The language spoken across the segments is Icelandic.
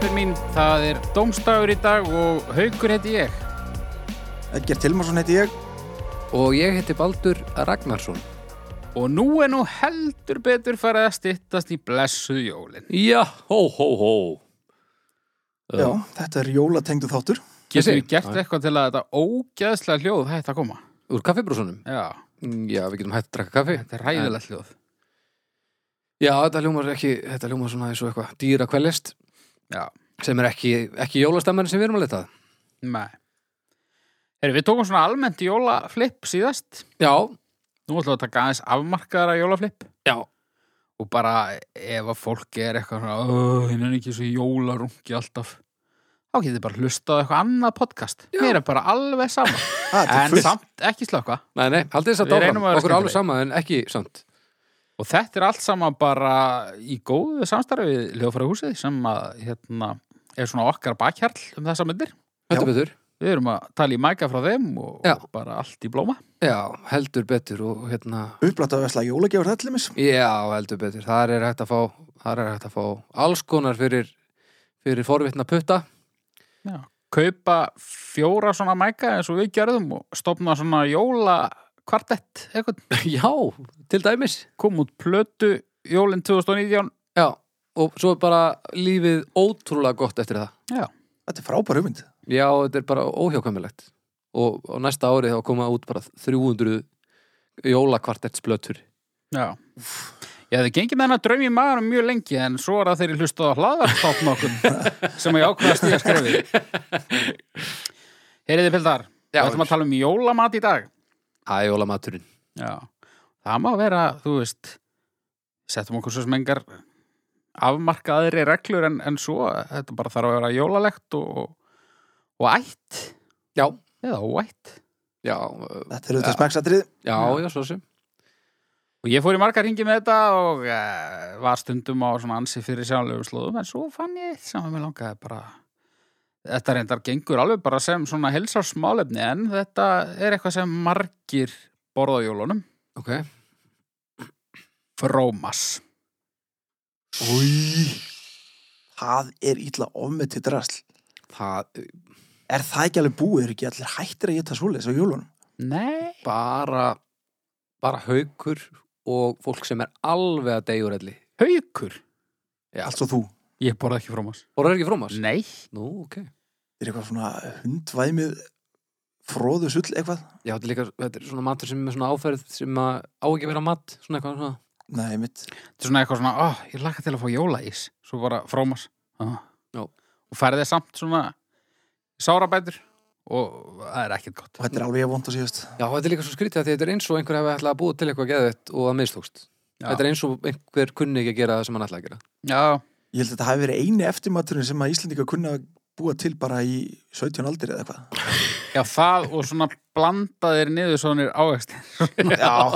Það er dómstagur í dag og haukur heiti ég. Edgar Tilmarsson heiti ég Og ég heiti Baldur Ragnarsson. Og nú er nú heldur betur farið að styttast í blessuð jólin. Já, hó, hó, hó. Já. Já, þetta er jólatengdu þáttur Getum Þessi? við gert eitthvað til að þetta ógeðslega hljóð hætti að koma? Úr kaffibrúsunum? Já, Já, við getum hægt að drakka kaffi. þetta er ræðilegt hljóð. Já, þetta ljómar ekki, þetta ljómar svona eins og eitthvað dýra kveldist Já, sem er ekki, ekki jólastammarinn sem við erum að letað. nei. Heru, við tókum svona almennt jólaflipp síðast. Já, Nú ætlum við að taka aðeins afmarkaðara jólaflipp. já, Og bara ef að fólk er eitthvað svona, "Ugh, hinn er ekki svo jólarungi alltaf. Þá getur þið bara hlustað á eitthvað annað podcast. Já. Mér er bara alveg sama. Ah, þetta er En fullt. samt ekki slökka. nei, nei, haldið þess að Við dáfram. reynum að vera Okkur er skemmtileg. alveg sama en ekki samt. Og þetta er allt saman bara í góðu samstarfið Ljófæra húsið sem að, hérna, er svona okkar bakhjarl um þessa myndir. Já. Heldur betur. Við erum að tala í mæka frá þeim og Já. bara allt í blóma. Já, heldur betur og hérna, Upplætt að vesla jólagjafur þetta limis já, heldur betur. Þar er hægt að fá, þar er hægt að fá alls konar fyrir, fyrir forvitna putta. Já. Kaupa fjóra svona mæka eins og við gerðum og stopna svona jóla kvartett, eitthvað, já, til dæmis. kom út plötu jólin 2019. Já, og svo er bara lífið ótrúlega gott eftir það. Þetta er frábær hugmynd Já, þetta er bara óhjákvæmilegt. Og á næsta ári þá koma út bara 300 jólakvartetsblötur. Já. Ég hefði gengið með hennar draum í maðurum mjög lengi en svo er það þeirri hlustað á hlaðarstátt okkur sem ég ákveða að stíða skrefið. Heyriði Pildar, Já, við ætlum að tala um jólamat í dag. Það er jólamaturinn. Já. Það má vera, þú veist, settum okkur svo sem engar afmarkaðri reglur en, en svo, þetta bara þarf að vera jólalegt og, og ætt Já, eða óætt. já, uh, Þetta er auðvitað smeksatrið já, já, svo sem. Og ég fór í margar ringi með þetta og uh, var stundum á svona ansi fyrir sjálflegum slóðum en svo fann ég eitt sem að mér langaði bara þetta reyndar gengur alveg bara sem svona helsarsmálefni en þetta er eitthvað sem margir borða á jólunum Ok. frómas Új Það er illa ofmið til drasl Það er Er það ekki alveg búið? Er ekki allir hættir að geta svoleiðis á jólunum? Nei bara, bara haukur og fólk sem er alveg að deyjur elli. Haukur Já. Allt svo þú Ég borða ekki frómas Og það er ekki frómas? Nei Nú, ok. Er eitthvað svona hundvæmið fróðu sull eitthvað? Já, þetta er líka, þetta er svona matur sem er svona áferð sem að á ekki að vera mat, svona eitthvað svona. Nei, mitt Þetta er svona eitthvað svona, ó, ég laka til að fá jólaís Svo bara frómas ah. Já. Og færði samt svona sárabætur og það er ekkert gott Og þetta er alveg að vonda síðast Já, þetta er líka svo skrítið að þetta er eins og einhver hefði ætlað að búa til eitthvað geðvett og að mistókst. Já. Þetta er eins og einhver kunni ekki að gera það sem hann ætlaði að gera. Já, Ég held að þetta hafi verið eini eftirmaturinn sem að Íslendinga kunna að búa til bara í 17 aldri eða eitthvað Já, það og svona blandaðir niður svonir ávextir.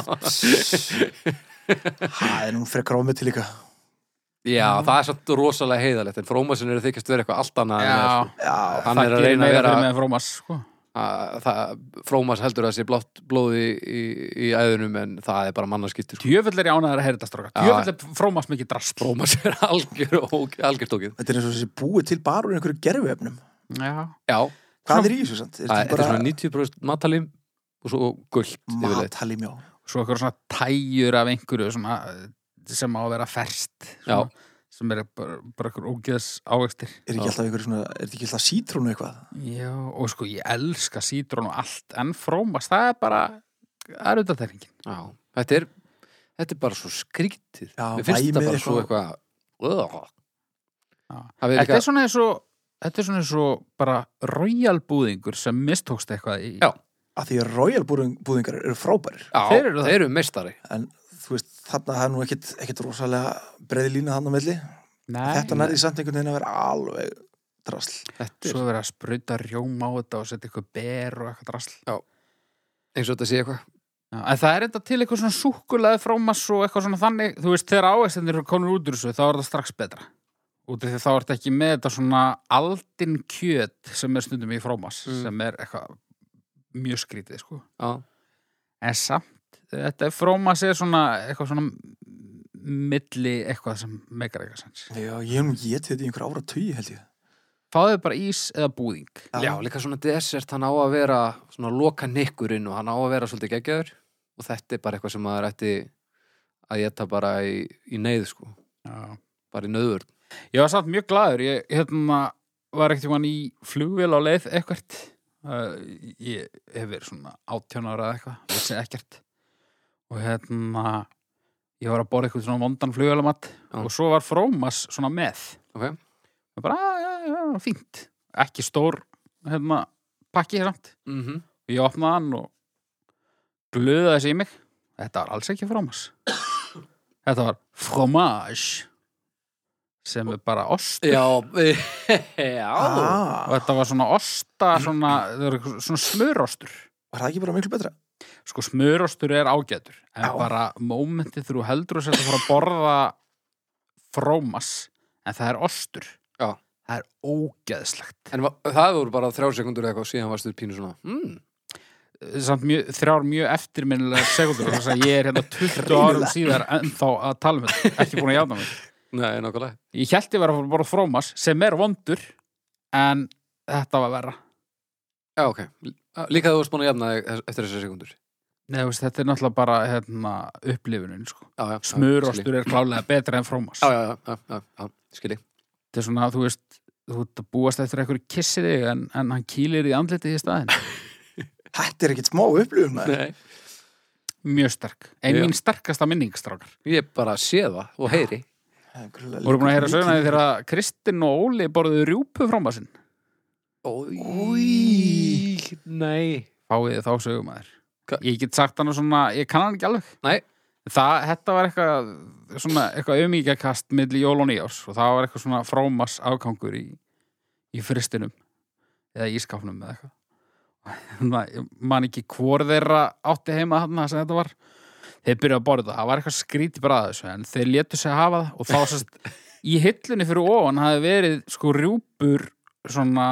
Já Það er nú frekar ofmið til líka Já, það er satt rosalega heiðalegt en frómasin eru þykjast vera eitthvað allt annað en það, Já, sko. Já, hann er að gerir reyna að meira vera fyrir með frómas, sko. að, það, frómas heldur að sé blátt blóði í, í, í æðunum en það er bara mannaskittur sko. Djöfull er ég ánæður að heyra þetta stróka. Já. Djöfull er frómas mikið drast. frómas er algjör og algjör tókið Þetta er eins og þessi búið til bara úr einhverju gerfuefnum. Já. Já, Hvað er í þessu sant? það þetta er svona 90% matalím og svo gullt yfirleitt Matalím, já. Svo eitthvað svona tæjur af einhverju svona, sem á að vera ferst. Svona, Sem er bara, bara eitthvað ógeðs ávextir. Er ekki alltaf einhverju svona, er þetta ekki alltaf sítrónu eitthvað? Já, og sko ég elska sítrón og allt, en frómas, það er bara, það er auðvitað þeirringin. Já, þetta er, þetta er bara svo skrítið Já, Mér finnst þetta væmið bara svo eitthvað. eitthvað Já. Það Þetta er líka er svona eins og, þetta er svona eins og bara royalbúðingur sem mistókst eitthvað í. Já. Af því að royal búðing- búðingar eru frábærir. Já, Þeir eru það. þeir eru meistari En þú veist, þarna það er nú ekkit, ekkit rosalega breiði lína þannig á milli. Nei. Þetta nærði samt einhvern veginn að vera alveg drasl. Þetta er Svo er verið að spruta rjóma á þetta og setja eitthvað ber og eitthvað drasl. eins og þetta sé eitthvað Já, en það er enda til eitthvað svona súkulaði frómas og eitthvað svona þannig, þú veist, þegar ávegstinir eru konur út úr þessu, þá er það strax betra. Út af því þá ertu ekki með þetta svona aldin kjöt sem er stundum í frómas, Mm. sem er eitthvað mjög skrítið, sko. Já, En samt, þetta frómas er svona eitthvað svona milli eitthvað sem megar eitthvað sens. Já, ég hef nú getið þetta í einhver ára tugi held ég. fáðu bara ís eða búðing Já, líka svona desert, hann á að vera svona loka nikkurinn og hann á að vera svolítið geggjaður og þetta er bara eitthvað sem maður ætti að geta bara í, í neyð sko, Já. bara í nöður Ég var samt mjög glaður, ég hérna, var ekkert í flugvél á leið ekkert uh, ég hef verið svona 18 ára eða eitthvað, vissi ekkert og hérna ég var að borða eitthvað svona vondan flugvélamatt Já. og svo var Frómas svona með Ok. og bara, "Ah, já, já, já, fínt ekki stór, hérna, pakki samt mm -hmm. og ég opnaði hann og glöðaði þessi í mig þetta var alls ekki Frómas þetta var Fromage sem er bara ost Já, já og Ah, þetta var svona osta svona, það eru svona smurostur var það ekki bara miklu betra? sko smurostur er ágætur en Já. bara mómentið þú heldur þess að þú fara að borða Frómas en það er ostur Já. það er ógeðslegt En va- það voru bara þrjár sekundur eitthvað og síðan varstu pínu svona mm, samt mjög, þrjár mjög eftirminnilega sekundur þess að ég er hérna 20 árum Greinilega. síðar ennþá að tala með ekki búin að játa mig Nei, nákvæmlega Ég held ég var að fara að borða frómas sem er vondur en þetta var verra Já, ok, líka þú varst búin að jafna þig eftir þessar sekundur Nei, þú veist, þetta er náttúrulega bara hérna, upplifunin sko. Já, já, já, skil ég. Smurostur er klálega betra en frómas Já, já, já, já, já, já, skil ég Þetta er svona, þú veist, þú ert að búast eftir að einhverju kissi þig en, en hann kýlir í andlitið í staðinn Þetta er ekkert smá upplifun maður. Nei, Mjög sterk Ein Já. mín sterkasta minningstrákar ég bara sé það og heyri Það er greinilega Voru búin að heyra líka- sögnaði þegar að Kristinn og Óli borðuðu rjúpu frómasinn Új. Nei Fáið þið þá sögum að Hva- Ég get sagt hann svona, ég kann hann ekki alveg Nei. Það, þetta var eitthvað svona, eitthvað umíkjakast milli jól og nýjás og það var eitthvað svona frómas afgangur í, í fristinum eða í ískapnum eða eitthvað Þannig að ég man ekki hvor þeirra átti heima þarna sem þetta var þeir byrjuðu að borða þetta, það var eitthvað skríti bara að þessu en þeir létu sig hafa það og þá sérst í hillunni fyrir ofan hafi verið sko rjúpur svona,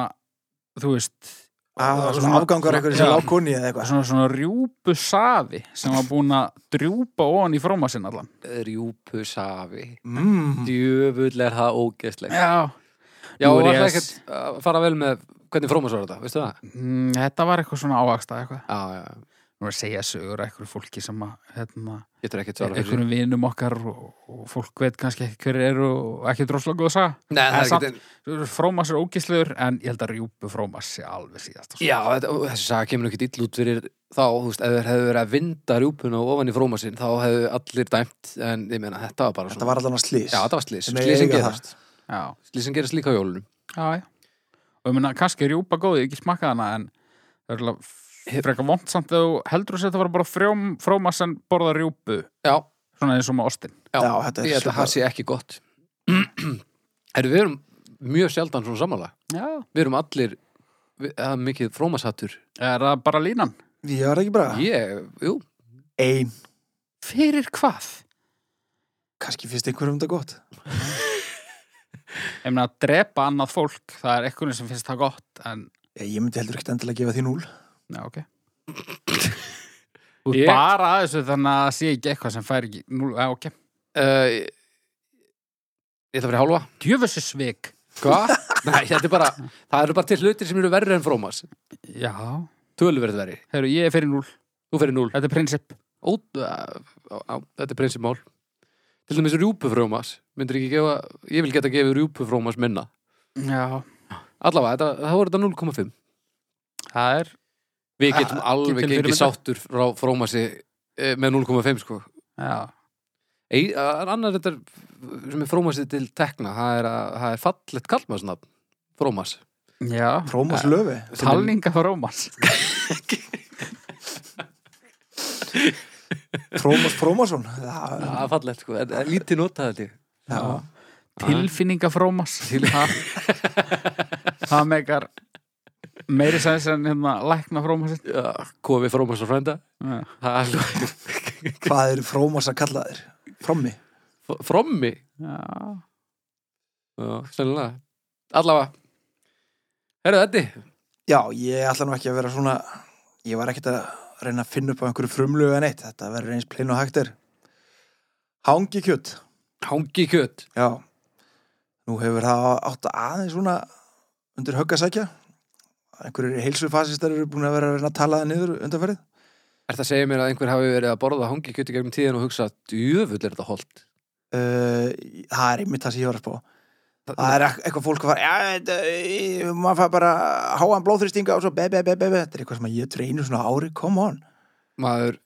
þú veist Ah, það var svona afgangar eitthvað sem Já. lág konni eða eitthvað. svona, svona rjúpusafi sem var búin að drjúpa ofan í fróma sinn allan Rjúpusafi Mm. Djöfull er það ógeðslega Já, Já, Nú og er ég að- alltaf ekkert að fara vel með hvernig frómas var þetta, veistu það? mm, þetta var eitthvað svona ávaksta eitthvað Já, já, já. Nú er að segja sögur að einhverju fólki sem að hérna, getur ekkert svara fyrir einhverjum vinum okkar og, og fólk veit kannski ekki hver eru og ekki droslega góð að saga sig Nei, það En er samt- ekkert ein... Frómas er ógislegur en ég held að rjúpu frómas sé alveg síðast sko. Já, þetta, og þessi saga kemur ekkert ill út fyrir þá, þú veist, ef þeir hefðu verið að vinda rjúpuna ofan í frómasinn, þá hefðu allir dæmt en ég meina, þetta var bara Þetta var allan að slís. Já, þetta var slís, Þeir mega slísin eiga gerast Já, Slísin gerast líka á jólunum já, já Og ég meina, kannski er rjúpa góð, ég hef ekki smakkað hana en það er alveg frekar vond samt þegar þú heldur þess að þetta var bara frjóm, frómas en borða rjúpu Já, svona eins og með ostin já, Já, þetta er ég held super- að það sé ekki gott Erum við erum mjög sjaldan svona samanlega Já. Við erum allir, við, það er mikið frómasattur Er það bara línan? Ég var ekki Ah. bara Ég, jú, ein, Fyrir hvað? kannski finnst einhverjum þetta gott. Ég meina að drepa annað fólk, það er eitthvað sem finnst það gott, en, Ég, ég myndi heldur ekkert endilega að gefa því núl. já, ok. Þú Ég- ég... bara að þessu þannig að það sé ekki eitthvað sem fær ekki, nú, já, ok. Uh, ég ég ætla að vera í hálfa Djöfessu svik. Hva? Nei, þetta er bara Það eru bara til hlutir sem eru verri en frómas Já. Tölverð verri Herru, ég er fyrir núl. Þú fyrir núl Þetta er prinsipp. Ó, á, á, Þetta er prinsipmál Til dæmis rjúpufrómas Myndir ekki gefa Ég vil geta gefið rjúpufrómas minna Já. Allavega, þetta, það voru þetta 0,5 Það er, Við getum Ah, alveg til gengið fyrirmyndar. sáttur frá frómasi eh, með 0,5 sko já. Ei, að- Annar þetta er- sem er frómasi til tekna það er, að, það er fallegt kallmarsnafn Frómas Já. Prómas löfi. Talninga frá Rómas. Prómas Prómasson. Já, Það er fallegt sko, þetta er lítið notað þetta já. Tilfinninga frá Rómas. Til- Það, það meikar meiri sæns en hérna lækna frá Rómasinn. Já, kofi frómas og frænda Já. Það er alveg- Hvað er Prómas að kalla þér? Frommi. F- Frommi Já. Já, sennilega Allavega Herðu þetta? Já, ég ætla nú ekki að vera svona, ég var ekkert að reyna að finna upp á einhverju frumlögu en eitt. Þetta verður eins plain og hægt er. Hangi kjött. Hangi kjöt Já. Nú hefur það átt aðeins svona undir höggasækja einhverjir heilsufasistar eru búin að vera að reyna að tala það niður undanferðið Er það að segja mér að einhver hafi verið að borða hangi kjöti gegnum tíðin og hugsa, djöfull er þetta holt? uh, það er einmitt það sem ég var að spá það er ek- eitthvað fólk að fara já, þetta, eh, maður fær bara háan blóðþrýstinga og svo be, be, be, be, be. þetta er eitthvað sem að ég treynu svona á ári, come on Maður,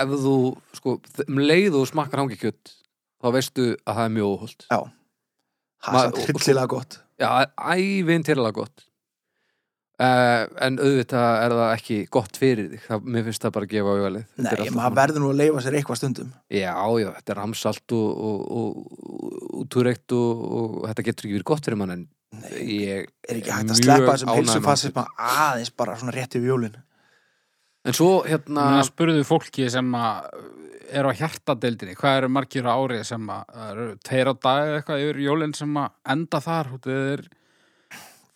ef þú, sko, þ- um leið og þú smakkar hangi kjött, þá veistu að það er mjög óholt. það er samt Maður- hryllilega gott Já, ævinn tilala gott. Uh, en auðvitað er það ekki gott fyrir þig. Það, mér finnst það bara að gefa auðvalið. Nei, maður verður nú að leifa sér eitthvað stundum Já, já, þetta er ramsalt og, og, og, og túreikt og, og þetta getur ekki verið gott fyrir mann en Nei, ég er ekki hægt að mjög sleppa þessum ánægður með heilsufasisma aðeins bara svona rétt yfir jólin En svo hérna, Núna spurðu fólki sem að eru á hjartadeildinni, hvað eru margir á ári sem að það eru tveir á dag eða eitthvað yfir jólinn sem að enda þar út eða þeir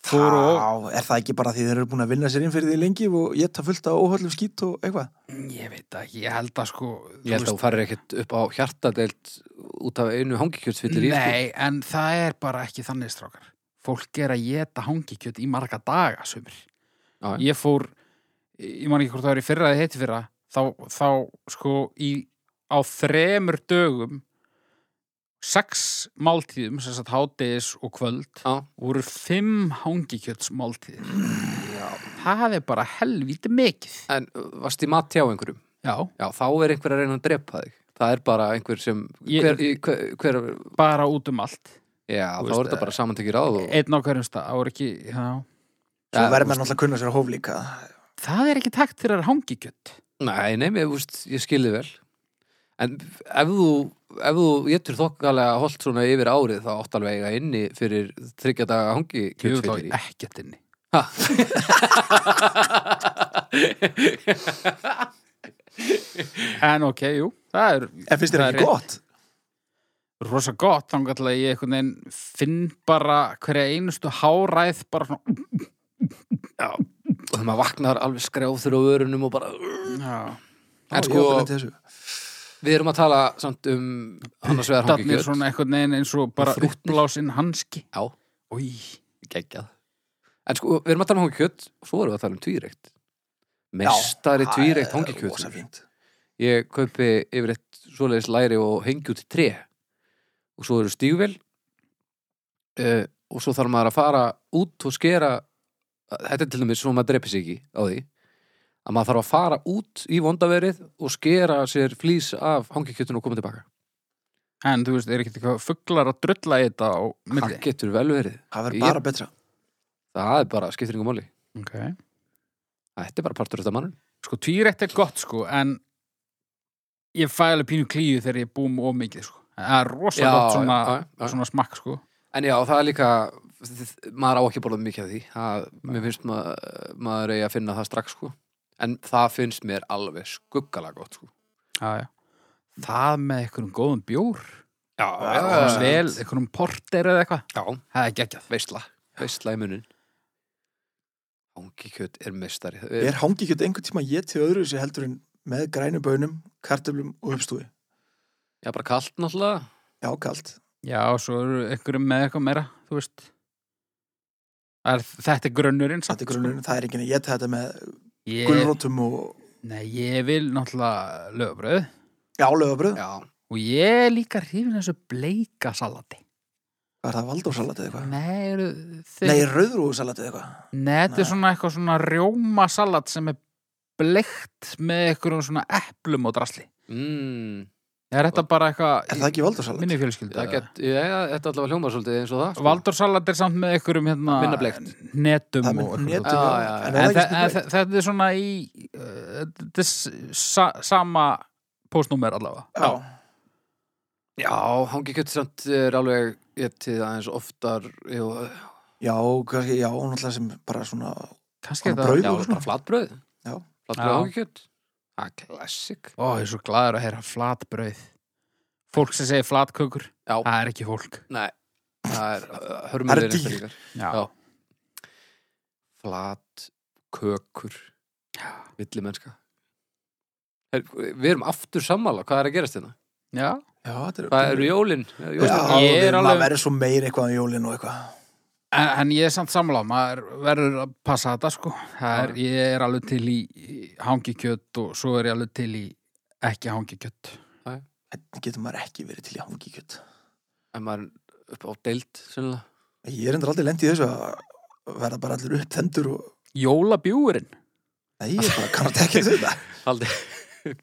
fóru og Þá er það ekki bara því þeir eru búin að vinna sér inn fyrir því lengi og ég ta fullt af óhörlum skýt og eitthvað ég veit það ekki, ég held að sko ég held að þú farir ekkert upp á hjartadeild út af einu hangikjöldsfyllir í sko. Nei, en það er bara ekki þannig strákar. Fólk er að geta hangikjöt í marga daga sumir. Já, já. Ég fór, ég man ekki hvort það var í fyrra eða heiti fyrra, þá, þá sko í, á þremur dögum sex máltíðum, sem sagt hádegis og kvöld, Já. voru fimm hangikjötsmáltíðir. Já. Það er bara helvíti mikið. En uh, varst í mat hjá einhverjum? Já, Já, þá er einhver að reyna að drepa þig Það er bara einhver sem Ég- hver, í- hver, hver, bara út um allt. Já, Þú þá veist, er þetta bara eh, samantekir ráð e- og, Einn á hverjum stað, það voru ekki, já. Svo Ja, verður þú maður náttúrulega að kunna sér að hóf líka Það er ekki takt þegar það er hangikjöt. Nei, nei, ég, veist, ég skilði vel En ef þú ef þú getur þokkalega holt svona yfir árið þá átt alveg að eiga inni fyrir þryggja daga hangi Ég vil kjöldfyllir þá ekkert inni. En ok, jú, það er En finnst þér Það er ekki gott? rosa gott þannig að ég einhvern veginn finn bara hverja einustu háræð bara svona og þegar maður vaknar alveg skrjáþur á vörunum og bara já, Ó, En ég sko, var lent í þessu. við erum að tala samt um annars vegar hangi þannig svona einhvern veginn eins og bara Og þrútnir. uppblásinn hanski Já, Új, geggjað En sko, við erum að tala um hangi og svo erum við að tala um tvíreikt Mestari Já, það er tvíreikt hangi rosa fínt. ég kaupi yfir eitt svoleiðis læri og hengi út í tre og svo eru stígvel uh, og svo þarf maður að fara út og skera þetta er til dæmis svo maður drepi sig ekki á því að maður þarf að fara út í vondaverið og skera sér flýs af hangikjötun og koma tilbaka en þú veist, er ekki eitthvað fugglar að drulla í þetta á það milli getur vel verið, Það verður Ég- bara betra það er bara skiptir yngur máli okay. þetta er bara partur af þetta mannum sko tvírætt er gott sko en ég fæ alveg pínu klíu þegar ég búum of mikið sko það er rosa gott svona, já, já. svona smakk sko en já, það er líka þið- maður á ekki borðað mikið af því það, mér finnst maður, maður eigi að finna það strax sko. en það finnst mér alveg skuggalega gott sko. já, já. það með einhverjum góðum bjór Já, já, og já. vel, einhverjum porter eða eitthvað Já, það er geggjað veistla, veistla í munin Hangikjöt er mestari Ég er hangi ekki einhvern tíma ég til öðru þessu heldur en með grænum bönum, kartöflum og uppstúi Já, bara kalt náttúrulega Já, kalt Já, og svo eru einhverjum með eitthvað meira, þú veist. Það Er, þetta er grunnurinn samt, Þetta er grunnurinn, það er enginn að geta þetta með sko. Ég, gulrótum og nei, ég vil náttúrulega lögbröð álöfabröð Já, og ég er líka hrifin af þessu bleika salati. Hvað er það, valdórsalat eða eitthvað? Nei, eru þið... Nei, rauðrúðsalat eða eitthvað Nei, þetta er nei. svona eitthvað svona rjómasalat sem er bleikt með einhverjum svona eplum og drasli. mm, Er þetta bara eitthvað... Er það ekki í valdórsalat? Minni fjölskyldu. það get, já, þetta allavega hljómar svolítið eins og það sko. Valdórsalat er samt með einhverjum hérna... Minna bleikt. Netum Það um og eitthvað. er með netum Já, já, já, já. En er En það þe- ekki en stundlega? þe- þetta er svona í uh, þetta er s- sa sama postnúmer allavega Já, Já, hangikjöt samt er alveg ég til aðeins oftar jú, já, kannski, já, náttúrulega sem bara svona kannski Svona þetta brauð. Já, bara flatbröð Já. Flatbröð Já. hangikjöt Það er klassik ó, ég er svo gladur að heyra flatbrauð fólk sem segir flatkökur Já. það er ekki fólk Nei, það er Það hörmur er dýr. líka já. Já. flat kökur villi mennska er, við erum aftur sammála, hvað er að gerast hérna? Já. Já, þetta er hvað eru jólin? Já, Ég er við- alveg- maður verður svo meir eitthvað á jólinn um og eitthvað En, en ég er samt samláð, maður verður að passa þetta sko. Það Er, Já. ég er alveg til í í hangikjöt og svo er ég alveg til í ekki hangikjöt. Hvernig getur maður ekki verið til í hangikjöt? en maður er upp á deild sennilega. Ég er endur aldrei lent í þessu að verða bara allir upptendur og... Jólabjúurinn. Nei, ég bara kannast ekki þetta. aldrei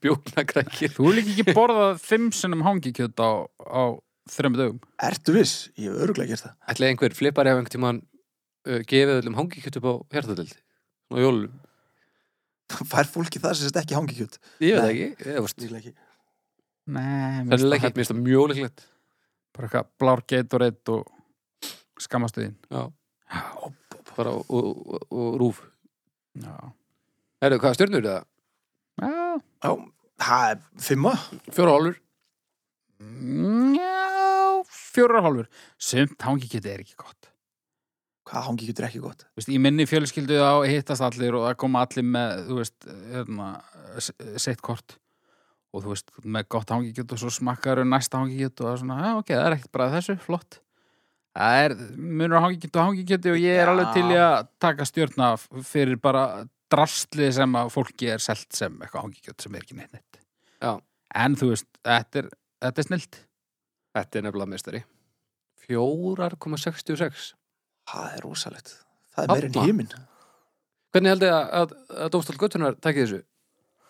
bjóknakrækir Þú er líka ekki borðað fimm sinnum hangikjöt á, á þremmu dögum. Ertu viss? Ég hef öruglega gert það. ætlaði einhver flipari af einhvern tímann uh, gefið öllum hangikjöt upp á hjartadeild og jólum, Fær fólki það sem sérst ekki hangikjöt? ég Nei. veit það ekki ég, veist, Líklega ekki. Nei, mér sennilega finnst ekki, mér það finnst það hérna. mjög líklegt bara eitthvað blár geitoritt og skamastuðin. já, Já. bara og, og, og, og rúf Já. Erðu, hvað stjörnur eru það? Já. Já, það er fimma. Fjóra hálfur Mm, Já, fjórar og hálfur. Sumt hangikjöt er ekki gott. Hvað hangikjöt er ekki gott? Þú veist, í minni fjölskyldu þá hittast allir og það koma allir með, þú veist, hérna, s- sitt kort og þú veist, með gott hangikjöt og svo smakkar og næsta hangikjöt og það er svona, já, ok, það er ekkert bara þessu, flott. Það er, munur á hangikjöt og hangikjöti og ég er Já. alveg til í að taka stjórna fyrir bara drastlið sem að fólki er selt sem eitthvað hangikjöt sem er ekki neitt neitt. Já. En þú veist, þetta er, þetta er snilt. Þetta er nefnilega mestari 4,66 Það er rosalegt. Það er Þarna? meira enn híminn. Hvernig heldur þið að, að, að Dómstól Götunar takið þessu?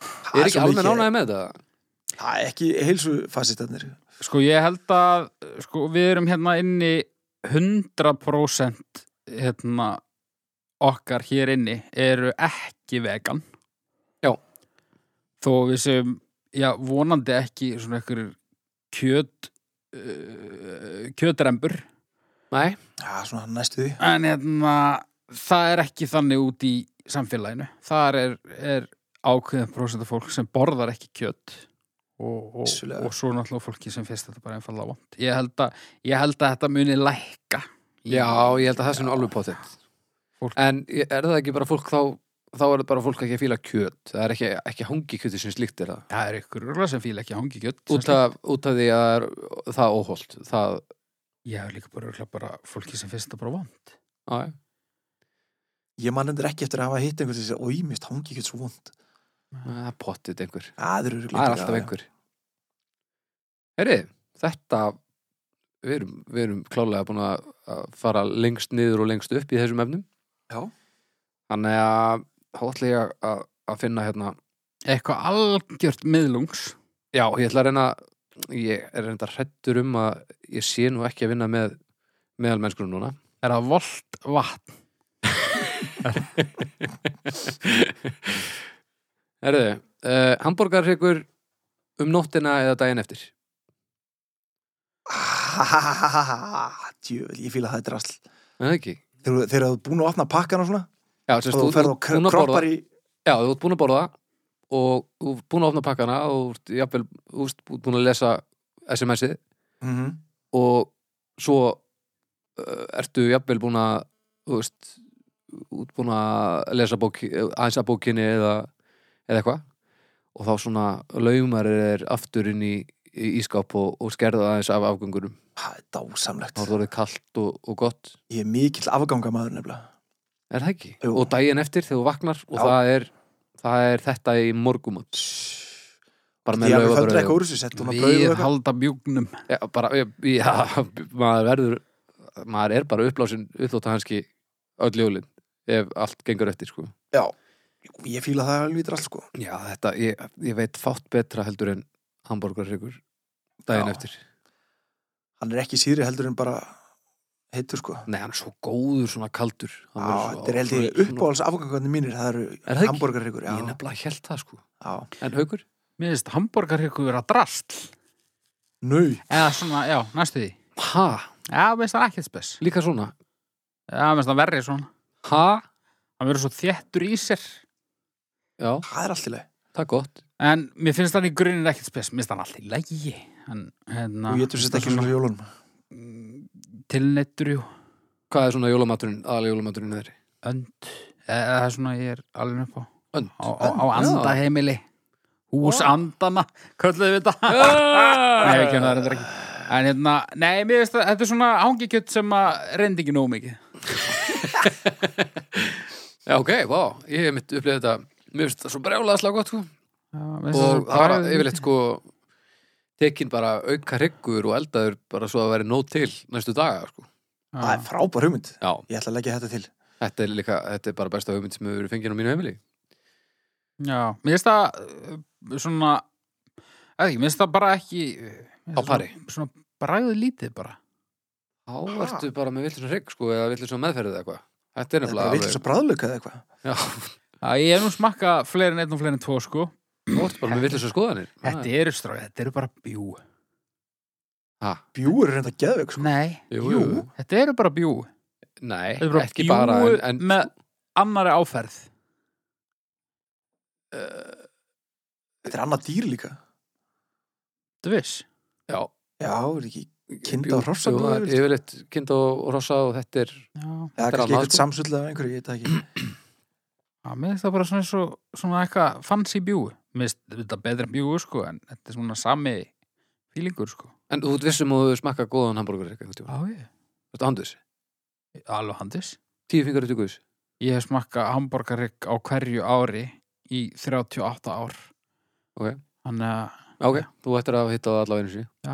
Það er ekki svo almenn mikið- ánægði með þetta? Það er ekki heilsu fasistarnir. Sko ég held að sko, við erum hérna inni 100% hérna, okkar hér inni eru ekki vegan Já. Þó við sem, já, vonandi ekki svona ykkur kjöt uh, kjötrembur Nei, Já, svona næstu því. en hérna það er ekki þannig út í samfélaginu þar er, er ákveðin prósent af fólk sem borðar ekki kjött og, og, Vissulega. og svo náttúrulega fólki sem finnst þetta bara einfallega vond ég held að, ég held að þetta muni lækka í- já, ég held að það sem er alveg potið Fólk- En er það ekki bara fólk þá þá er það bara fólk ekki að fíla kjöt það er ekki, ekki hangi kjöti sem slíkt er það það er ykkur rúla sem fíla ekki hangi kjött út af, út af því að það er- það er óholt það, ég hef líka bara, örugglega bara fólki sem finnst þetta bara vond á, já. Ég man endur ekki eftir að hafa hitt einhvern sem segir, oi, mist hangikjöt svo vond. það er potið einhver Það er öruglega. það er alltaf einhver Heri, þetta við erum, við erum klálega búin að að fara lengst niður og lengst upp í þessum efnum Já. þannig að þá ætla ég að, að finna hérna eitthvað algjört miðlungs já, ég ætla að reyna ég er reynda hrættur um að ég sé nú ekki að vinna með meðalmennskunum núna er það volt vatn Herðu, uh, hambúrgarhryggur um nóttina eða daginn eftir Djövel, ég fíla það er drasl. en það ekki Þegar þegar þú ert búin að opna pakkan og svona, já, sem og sagt, þú ferð og ert búin kr- að borða- kroppar í... Já, þú ert búin að borða og þú ert búin að opna pakkana og þú ert jafnvel, þú ert búin að lesa SMS-ið Mhm. og svo uh, ertu jafnvel búin að þú veist, þú ert búin að lesa bók, aðeins að bókinni eða, eða eitthvað og þá svona laumar er aftur inn í, í ískáp og, og skerða aðeins af afgöngurum Það er þá dásamlegt. er það orðið kalt og, og gott Ég er mikill afgangamæður nefnilega. er það ekki? Jú. og daginn eftir þegar þú vaknar og Já. það er, það er þetta í morgumat bara Ég með alveg földur laufabröðu eitthvað úr þessu, settum að brauðu við eitthvað. halda bjúgnum Já, bara, já, maður verður maður er bara upplásin uppþótt að hanski öll jólin ef allt gengur eftir sko Já, ég fíla það alveg í drasl, sko. Já, þetta, ég, ég veit fátt betra heldur en hambúrgarhryggur daginn Já. eftir Hann er ekki síðri heldur en bara heitur, sko. Nei, hann er svo góður, svona kaldur Já, Hann verður svo- þetta er held ég svona- uppáhalds afgangarnir mínir, það Er eru það ekki? hambúrgarryggur, Ég já, nefnilega held það sko já. En haukur? mér finnst hambúrgarhyggur vera drastl Nau, eða svona, já, næstu því Ha? já, mér finnst það ekkert spes Líka svona? já, mér finnst það verri svona Ha? hann verður svo þéttur í sér Já, það er allt í leið. það er gott en mér finnst hann í grunin ekkert spes mér finnst hann alltaf í lægi en, hérna, Þú getur sett ekki svona jólunum. tilneittur jú Hvað er svona jólamaturinn, aðal jólamaturinn þeirri? önd, eða það er svona ég er alveg upp á Önd á, á, á Önd, já. andaheimili hús andana, kölluðu við þetta Nei, hérna. Nei, ekki, það er þetta ekki. En hérna, nei, mér veist að þetta er svona hangikjött sem að reyndi ekki nóg mikið. Já, ok, vá, ég hef mitt upplifið þetta Mér finnst það svo brjálega slag gott, sko Já, Og það var yfirleitt, sko Tekin bara auka hryggur og eldaður Bara svo að vera nót til næstu daga, sko það er frábær hugmynd Já, ég ætla að leggja þetta til þetta er líka, þetta er bara besta hugmynd sem hefur verið fengið á mínu heimili Já, mér veist það uh, svona, eða ekki, mér veist það bara ekki... Á pari. Svona, svona bræðu lítið bara. Þá Ha? ertu bara með villisum hrygg, sko Eða villisum meðferðið eða eitthvað Þetta er þetta nefnilega er vilt svo bræðlöka eða eitthvað Já, Já, ég er nú smakka fleiri en einn og fleiri en tvo, sko. þú ert bara með villisum skoðanir Þetta eru stráð, þetta eru bara sko. bjú. Ha, bjúur er reynda geðveik sko. Nei, jú, jú. þetta eru bara bjú. Nei, Þetta eru bara ekki bjú bara En, en með annari áferð. þetta er annað dýr líka Þú veist? já já, er ekki kinda jú, og hrossa jú, það er blóður, Yfirleitt kind og rossa og þetta er Já. Já, er kannski annað, eitthvað sko. samsull af einhverju, ég veit það ekki Já, mér finnst það bara svona, svona, svona eitthvað fancy bjú. Mér finnst þetta betra en bjú, sko, en þetta er svona sami fílingur, sko. En þú ert vissum að þú smakka góðan hambúrgur einhvern tíma. ég. Þetta handus. Alveg handis. Tíu fingur eftir guðs. Ég hef smakkað hambúrgarrygg á hverju ári í 38 ár. Ok. Þannig að, Ok, þú ættir að hitta það allavega einu sinni.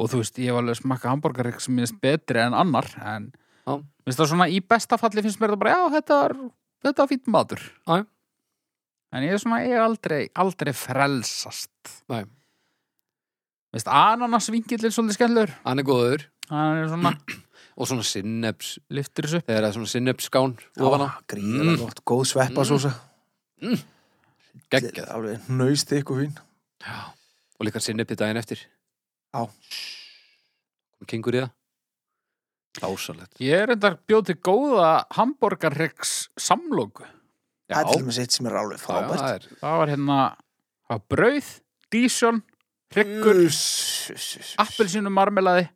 og þú veist, ég hef alveg smakkað hambúrgarrygg sem minnst betri en annar, en Já. mér finnst það svona í besta falli finnst mér það bara, já, þetta er, þetta er fýtt matur. Já, já. En ég er svona, ég hef aldrei, aldrei frelsast. Nei. Mér finnst ananasvingillin svolítið skemmtlur. Hann er góður Hann er svona, og svona sinneps, liftir þessu upp þegar það er svona sinnepsskán ofan á. gríðan Mm. gott, góð sveppasósa Geggjað. alveg nöyst ykkur fín Og líka sinnepi daginn eftir. Já. Kingur í það. Dásalett. Ég er enda bjóð til góða hambúrgarryggs samlóku það er til dæmis eitt sem er alveg frábært það er. Það var hérna það var brauð, dísjón, Mm. hryggur Gull appelsínu marmelaði,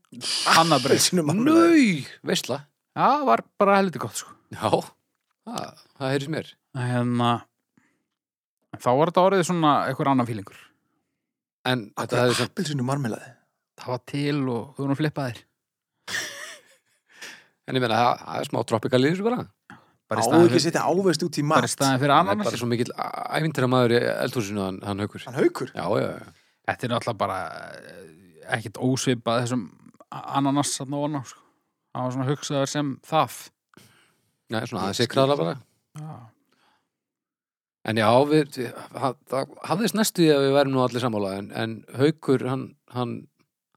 annað brauð Appelsínu marmelaði Nau! Veistla. Það var bara heldur gott sko Já. Það, það heyrðis mér. hérna, en Þá var þetta orðið svona einhver annan fílingur En þetta hefði svona, Appelsínu marmelaði Það var til og þú erum flippaðir en ég meina, það- það er smá tropikal í þessu bara. Bara í Á staðinn ekki fyrir- setja ávegst út í bara í mat staðin fyrir Hann er bara ananas sko. svo mikill ævintýra maður í eldhúsinu hann, hann haukur. Hann haukur Já, já, já. Þetta er náttúrulega bara eh, ekkit ósvipað þessum ananas þarna ofan á sko Það var svona hugsaður sem það Nei, svona aðeins sikraðla bara. Já En já, við, við, það- það hafðist næstu því að við værum nú allir sammála en, en haukur, hann, hann,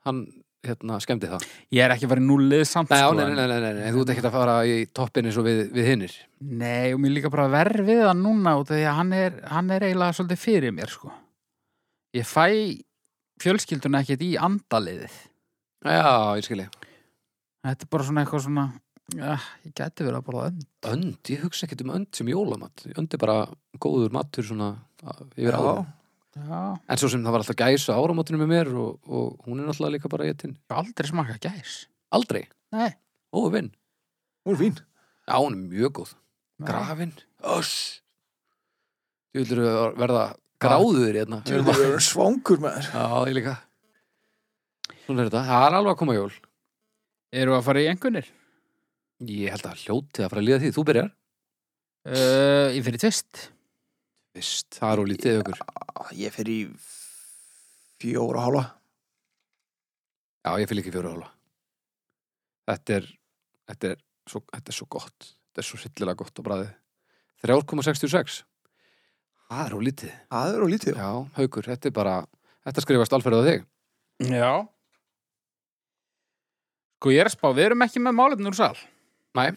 hann hérna, skemmdi það. Ég er ekki að fara í núlið samt Nei, já, sko, nei, en- nei, nei, nei, nei, nei, þú ert ekkert að fara í toppin eins og við, við hinnir. Nei, og mér líka bara verð við hann núna út af því að hann er, hann er eiginlega svolítið fyrir mér, sko. Ég fæ fjölskylduna ekkert í andaliðið. Já, ég skilji. Þetta er bara svona eitthvað svona, ja, ég gæti verið að borða önd. Önd, ég hugsa ekkert um önd sem jólamatt. Önd er bara góður matur svona að- yfir Já. áður. Já, En svo sem það var alltaf gæsa áramótinu með mér og, og hún er náttúrulega líka bara getinn. ég hef aldrei smakað gæs. Aldrei. Nei. Ó, vinn. Hún er fín Já, hún er mjög góð. Grafin Öss Þú vildur verða gráður hérna Þú erum Já, svangur maður ég líka Svona er þetta, það er alveg að koma jól Eru að fara í engunir? Ég held að hljóti að fara að líða því, þú byrjar Uh, ég fyrir tvist. Vist, það er úr lítið ykkur Á, Ég fer í fjóra og hálfa Já, ég fylg ekki fjóra hóla Þetta er Þetta er svo, þetta er svo gott Þetta er svo sillilega gott á bræði 3,66 Það er úr lítið Það er á lítið Já, haukur, þetta er bara Þetta skrifast alferðið á þig Já. Sko, ég er að spá, við erum ekki með málefni úr sal. Nei.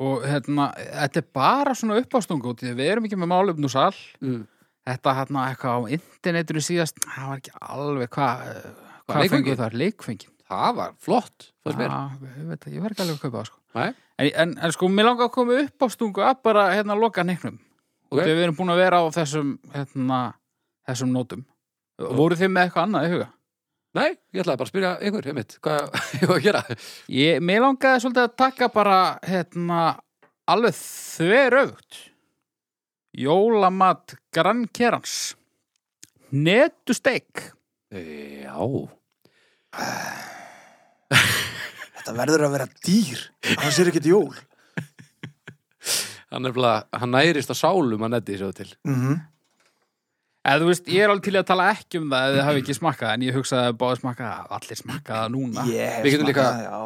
Og hérna, þetta er bara svona uppástungu út í því við erum ekki með málefni úr sal. mm. þetta hérna eitthvað á internetinu síðast það var ekki alveg hvað hvað leikföngin? fengu þar, leikfengin Það var flott, fannst mér ég veit það, ég verð ekki alveg að kaupa það sko. Nei. en, en, en sko, mér langar að koma upp á stungu að bara hérna loka neiknum Ok. okay. við erum búin að vera á þessum hérna, þessum nótum voru þið með eitthvað annað í huga? Nei, ég ætlaði bara að spyrja ykkur, heimitt, hvað ég var að gera? Ég, mér langaði svolítið að taka bara hérna, alveg þverögt jólamat grannkerans netusteik Já, þetta verður að vera dýr hann sér ekkert jól Hann, er bara, hann nærist á sálum að netti svo til. mm Mhm. Eða þú veist, ég er alveg til í að tala ekki um það ef þið hafi ekki smakkað, en ég hugsaði að báði smakkað að allir smakka það núna. yeah, Við getum líka- já.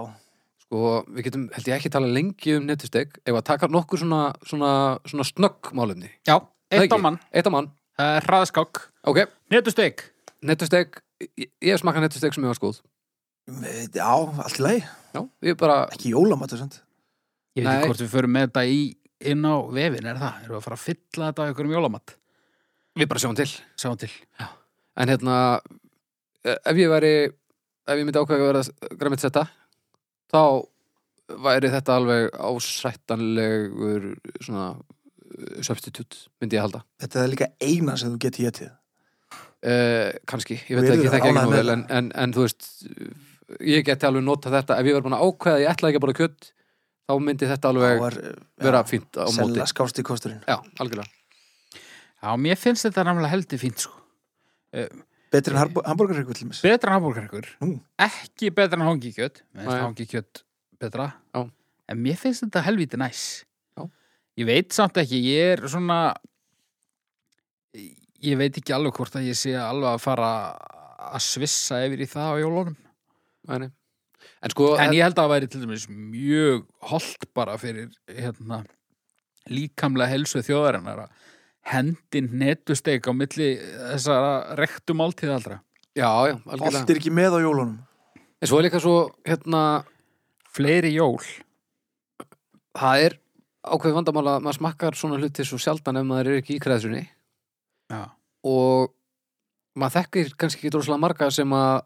Sko, við getum, held ég ekki tala lengi um nettusteg, ef að taka nokkur svona, svona, svona snögg málumni. Já, eitt á mann, Eitt á mann. uh, hraðskák, Ok, netusteg. nettusteg, ég, ég smakka nettusteg sem ég var skoð. já, allt í lagi Já, ég bara, ekki jólamatu sent Ég veit ekki Nei. hvort við förum með þetta í, inn á vefin, er það? Erum við að fara að fylla þetta á einhverjum jólamatt? við bara sjáum til. Sjáum til. En hérna, eh, ef ég væri, ef ég myndi ákveða að vera græmið setta, þá væri þetta alveg ásættanlegur svona eh, substitute, myndi ég halda. þetta er líka eina sem þú geti getið Uh, kannski, ég Og veit það yrðir ekki, það ekki ánægð nú með vel en, en, en þú veist, ég geti alveg nota þetta ef ég verð búin að ákveða, að ég ætla ekki að bara kjött þá myndi þetta alveg var, vera fínt á móti selja skásti kosturinn Já, algjörlega Já, mér finnst þetta namlega heldur fínt, sko. betri en hambúrgarreikur til mér Betra en hambúrgarkur, Nú. ekki betra en hangikjöt, mér Nei. finnst hangikjöt betra, Já. en mér finnst þetta helvíti næs. Já. Ég veit samt ekki, ég er svona, ég veit ekki alveg hvort að ég sé alveg að fara að svissa yfir í það á jólunum. Væni. En sko, En ég held að það væri til dæmis mjög holdt bara fyrir hérna, líkamlega helsu þjóðarinnar að hendin netusteg á milli þessara rektum alltíðaldra. já, já, algjörlega allt er ekki með á jólunum En svo er líka svo, hérna, Fleiri jól. það er ákveð vandamál að maður smakkar svona hluti svo sjaldan ef maður er ekki í kreðsunni Já. og maður þekkir kannski ekki droslega marga sem að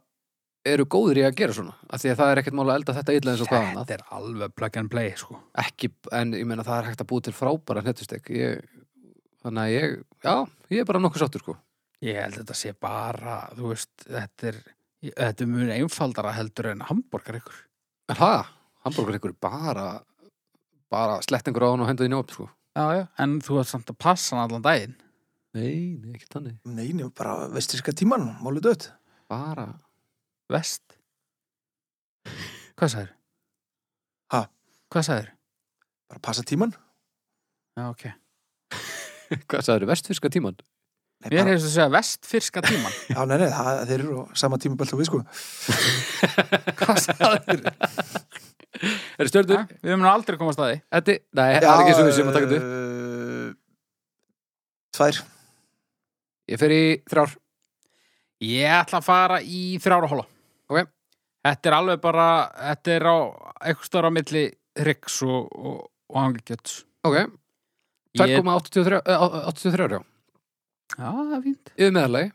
eru góður í að gera svona af því að það er ekkert mál að elda þetta illa eins og hvað annað Þetta er alveg plug and play, sko. ekki, en ég meina það er hægt að búi til frábæra hnettustek ég, þannig að ég, já, ég er bara nokkuð sáttur sko Ég held að þetta sé bara, þú veist, þetta er, þetta er mjög einfaldara heldur en hambúrgar ykkur. en það, hambúrgar ykkur bara bara slett einhver á hann og hendur í njófn sko Já, já. En þú ert samt að passa hann allan daginn. nei, nei, ekki þannig, Nei, nefnum bara vestriska tíman, málið dött. bara Vest. Hvað sagður? Ha? Hvað sagður? Bara passa tíman. Já, ok. hvað sagður, vestfyrska tíman Nei, Mér bara, hérna. hefðist að segja vestfyrska tíman. já, nei, nei, það, þeir eru á sama tímabelt og við, sko. Hvað sagður? er stjörnur, Við munum aldrei komast að því. eddi, nei, það er ekki svo sem að taka þetta upp þetta. Eh, Tvær. ég fer í þrjár, Ég ætla að fara í þrjára hóla. Ok. Þetta er alveg bara, þetta er á eitthvað stóra milli Riks og, og, og Anglikjöts. ok Ég- 2,83, eh, á- 83, já, Já, það er fínt. yfir meðalagi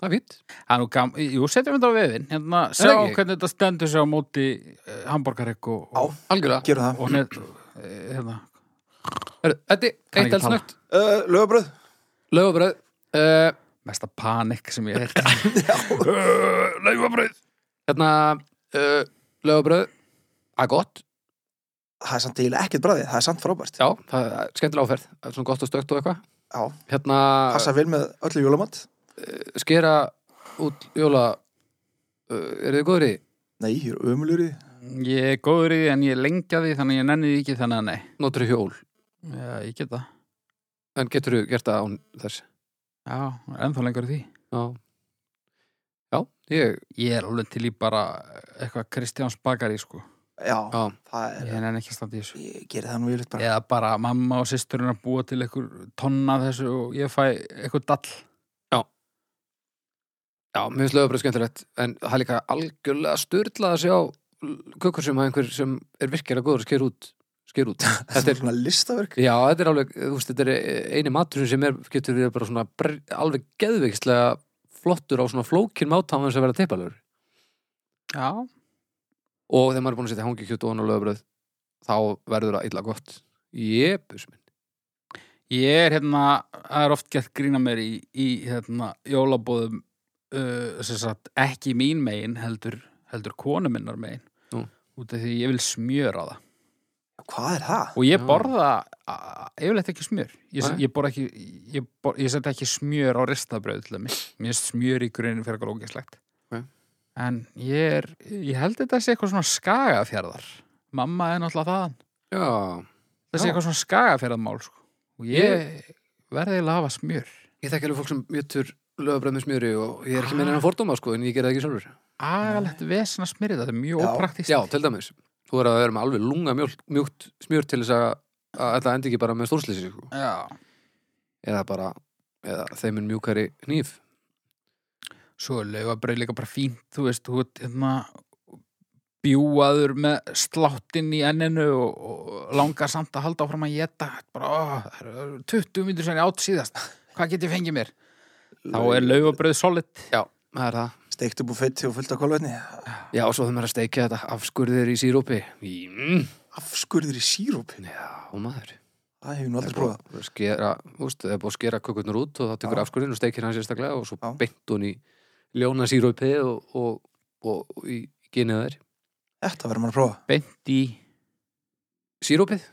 það er fínt, Það er nú gam... Jú, setjum þetta á vefinn. Hérna, sjá það ekki? hvernig þetta stendur sig á móti uh, Hamborgarrygg og, og, algjörlega Gerum það. og net, uh, hérna. Herru, eddi, Kann eitt ekki tala. eldsnögt, Uh, Lögabröð. lögubröð uh, mesta panik sem ég Eh, heilt. Laufabröð. hérna, uh, lögubröð að gott Það er samt eiginlega ekkert bræðið, það er samt frábært. Já, það er skemmtilega áferð, það er svona gott og stökt og eitthvað. Já. Hérna, Passa vel með öllu jólamat. skera út jóla, uh, eru þið góður í? því? Nei, ég er ömulur í. því. Ég er góður í því en ég lengja því þannig að ég nenni því ekki þannig að nei. Notur hjól, Já, ég get það. en getur þú gert það án þess? Já, ennþá lengur í því. Já, já, ég, Ég er alveg til í bara eitthvað Kristjáns bakari, sko. Já, já, það er, Ég nenni ekki að standa í þessu. ég gerir það nú yfirleitt bara. Eða bara mamma og systurinn að búa til eitthvað tonna af þessu og ég fæ eitthvað dall. já, mér finnst lögabröð skemmtilegt, en það er líka algjörlega styrlað að sjá l- kökur sem að einhver sem er virkilega góður að skera út, skera út. Þetta Þetta er er, svona listaverk. já, þetta er alveg, þú veist, þetta er eini maturinn sem er, getur verið bara svona br- alveg geðveikslega flottur á svona flókin mátáðan sem verða teipalur. Já, og þegar maður er búin að setja hangikjöt og hann á lögabröð þá verður það illa gott jepus minn Ég er hérna, það er oft gert grína mér í, í hérna, jólabóðum uh, sem sagt, ekki mín megin heldur, heldur konu minnar megin Nú. út af því ég vil smjöra það Hvað er það? og ég Já. borða a- yfirleitt ekki smjör ég, Nei. ég, borða ekki, ég, bor, ég set ekki smjör á ristabröð til þeim, mér finnst smjör í grunin fyrir eitthvað ógæslegt Ok. en ég er, ég held þetta sé eitthvað svona skagafjörðar mamma er náttúrulega þaðan Já, það sé Já. eitthvað svona skagafjörðarmál sko. og ég verði að hafa smjör ég þekki alveg fólk sem jötur lögabröð með smjöri og ég er ekki meina enn fordóma sko en ég gera það ekki sjálfur. agalegt vesen að smyrja þetta, þetta er mjög Já. ópraktist Já, til dæmis. Þú verður að vera með alveg lunga mjólk, mjúkt smjör til þess að, að þetta endi ekki bara með stórslýsi sko. Já. Eða bara, eða þeim er mjúkari hníf. svo er laufabrauð líka bara fínt þú veist, þú veist, hérna bjúaður með sláttinn í enninu og, og langar samt að halda áfram að geta bara, ó, það eru 20 myndir sem ég átt síðast hvað get ég fengið mér? Þá er laufabrauð solid Það er það. Steikt upp og fett og fullt af kolvetni Já, og svo þeim er að steikja þetta afskurðir í sírópi. Í, mm, Afskurðir í sírópi já, maður. Það hefur nú Það aldrei er búið prófað að skera, úst, það er búið að skera kökurnar út og það tekur Já. afskurðin og steikir hann sérstaklega og svo Já. beint hún í ljóna sírópi og, og, og, og í genið þær. Þetta verður maður að prófa beint í Sírópið,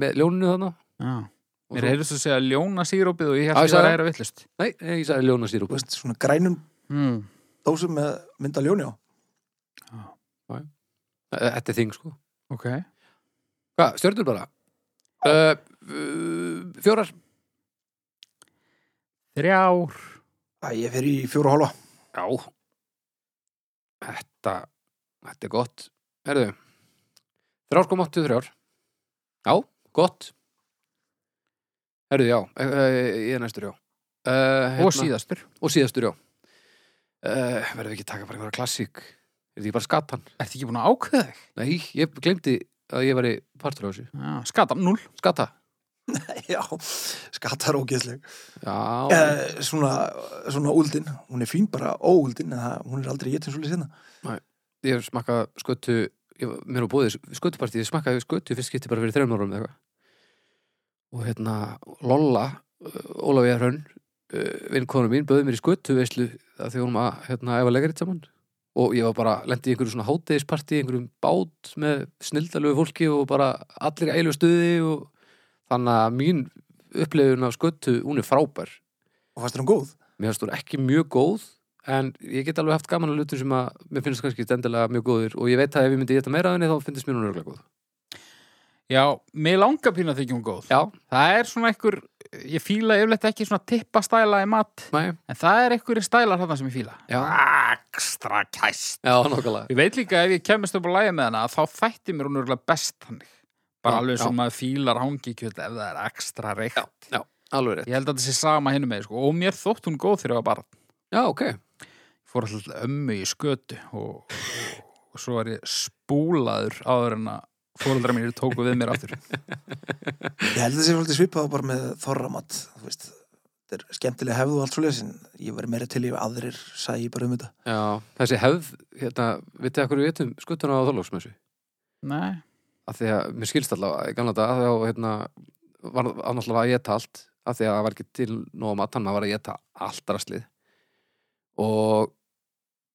með ljóninu þarna. já. og mér svo- heyrðist að segja ljóna sírópið og ég Já, held ég ég var sagði að eira villust Nei, nei, ég sagði ljóna Þú sírópið. veist, svona grænum mm. dósum með mynda ljóni á Þetta er þing, sko. ok, Hvað, stjörnur bara? Uh, uh, fjórar? þrjár Æ, ég fer í fjóru og hálfa Já. Þetta, þetta er gott. Herðu, þrjár kom 83. Já, gott. Herðu, já, uh, ég er næstur, já. Uh, hérna, og síðastur Og síðastur, já. Uh, verðum við ekki að taka bara einhverja klassík? Er þetta ekki bara skatan? ertu ekki búin að ákveða þig? Nei, ég glemdi að ég var í partur á þessu. Já, skatan 0 Skata? Já, skattar ógeðsleg Já. Eh, svona, svona úldin hún er fín bara óúldin en það, hún er aldrei getin svolítið sinna ég hef smakkað skötu ég, var- mér var búið skötupartíð, ég smakkaði skötu fyrst skipti bara fyrir þreim árum eða eitthvað og hérna Lolla Ólaf ég hrönn vinkonu mín bauði mér í skötu veislu að því vorum að hérna, æfa leikaritt saman og ég var bara lendi í einhverju svona hátegispartí einhverjum bát með snildalögu fólki og bara allir í ælu stuði og þannig að mín upplifun af skötu, hún er frábær og fannst þér hún góð? Mér finnst hún ekki mjög góð en ég get alveg haft gaman að lutum sem að mér finnst kannski stendilega mjög góðir og ég veit að ef ég myndi geta meira af henni þá finnst mér hún örgulega góð. já, mig langar pínu að þykja hún góð Já, Það er svona einhver, ég fíla yfirleitt ekki svona tippastæla í mat, næ, en það er einhverjir stælar þarna sem ég fíla. Já. Ekstra kæst. já, nokkulega. Ég veit líka ef ég kemist upp á lægi með hana, þá þætti mér hún örgulega best þannig. Bara Já, alveg já. sem maður fílar hangi kjöld ef það er ekstra reykt. Já, alveg rétt. Ég held að þetta sé sama hennu með, sko, og mér þótt hún góð þegar ég var barn. Já, ok. Ég Fór alltaf ömmu í skötu og, og, og svo var ég spúlaður áður en að fóröldra mínir tóku við mér aftur. Ég held þessi svolítið svipað bara með þorramat þú veist, þetta er skemmtilega hefðu og allt svolítið sin ég var meira til í að aðrir sæi bara um þetta Já, þessi hefð, hérna, vitið að hverju við getum skuttuna á Þorlóksmessu? Nei, Af því að mér skilst allavega, í gamla dag, þá, hérna, var annarslega að geta allt, af því að það var ekki til nóg mat, hann var að geta allt rastlið. Og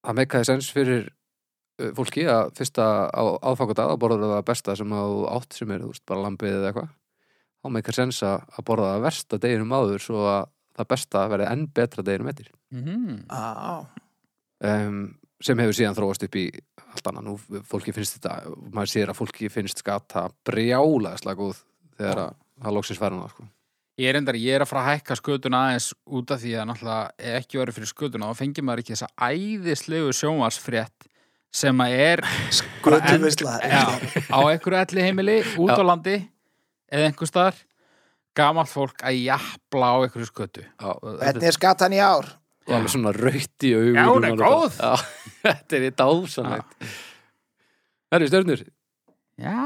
það meikaði sens fyrir uh, fólki að fyrsta á aðfangadag að borða það besta sem að þú átt sem er, þú veist, bara lambið eða eitthvað. Þá meikar sens að að borða það versta deginum áður svo að það besta verði enn betra deginum eftir mhm, ah, um, sem hefur síðan þróast upp í allt annað nú, fólki finnst þetta maður sér að fólki finnst skata brjálaðislega góð þegar að það loksins verður hana sko. Ég er endar, ég er að fara að hækka skötuna aðeins út af því að náttúrulega ef ekki verið fyrir skötuna þá fengir maður ekki þessa æðislegu sjónvarsfrétt sem að er Skötu veistla já, á einhverju elli heimili út á landi eða einhver staðar gamalt fólk að jafla á einhverju skötu Já, Hvernig er skatan í ár? og alveg svona raut í augun Já, hún er góð. já, þetta er í dásanlegt Það eru stjörnur Já,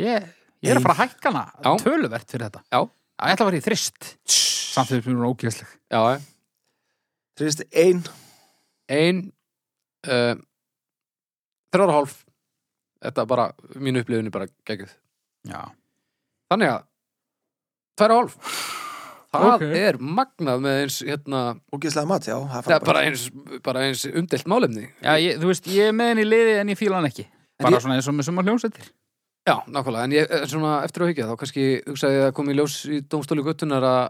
ég, ég er að fara að hækka hana Já. töluvert fyrir þetta Já. Ég ætla að fara í þrist samt því að hún er ógeðsleg já, Þrjist ein, ein uh, þrjóra hálf þetta er bara, mínu upplifinu bara geggjum Já, Þannig að tværa hálf Það Ok. er magnað með eins hérna, ógeðslega mat, já það það fara er bara eins, bara eins umdelt málefni Já ég, þú veist, ég er með henni í liði en ég fíla hann ekki bara ég- svona eins og með suma hljómsveitir Já, nákvæmlega, en ég, eh, svona eftir á higgja þá kannski hugsaði ég að komi í ljós í dómstóli göttunar að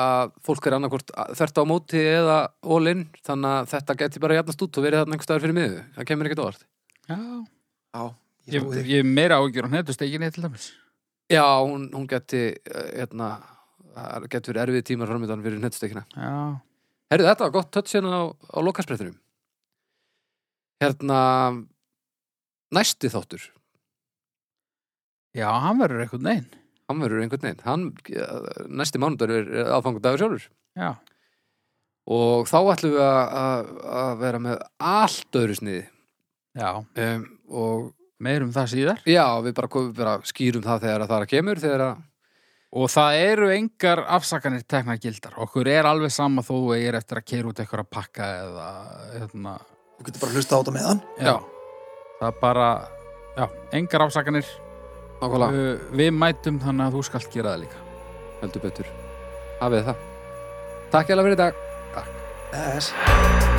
að fólk er annarkvort þvert á móti eða all-in þannig að þetta geti bara jafnast út og verið þarna einhver staðar fyrir miðu það kemur ekkert óvart Já, Já, ég ég, trúi því. ég er meira ágjur á hnetustekinni til dæmis. Já, hún, hún geti eh, hérna, það geti verið erfið tímar framöndan fyrir nettstekina Já, Herðu, þetta var gott touch hérna á, á lokasprettinum Hérna næsti þáttur já, hann verður eitthvað neginn. hann verður einhvern veginn hann, eh, næsti mánudagur er er aðfangudagur sjálfur Já, og þá ætlum við að- að að vera með allt öðru sniði já, um, og meir um það síðar. Já, við bara, við bara skýrum það þegar að það er að kemur þegar að, Og það eru engar afsakanir tekna gildar. Okkur er alveg sama þó að ég er eftir að keira út eitthvað að pakka eða, hérna, Þú getur bara að hlusta á þetta með hann. já. Það er bara, já, engar afsakanir. nákvæmlega, Uh, Við mætum þannig að þú skalt gera það líka. heldur betur hafið það Takk ég alveg fyrir í dag Yes.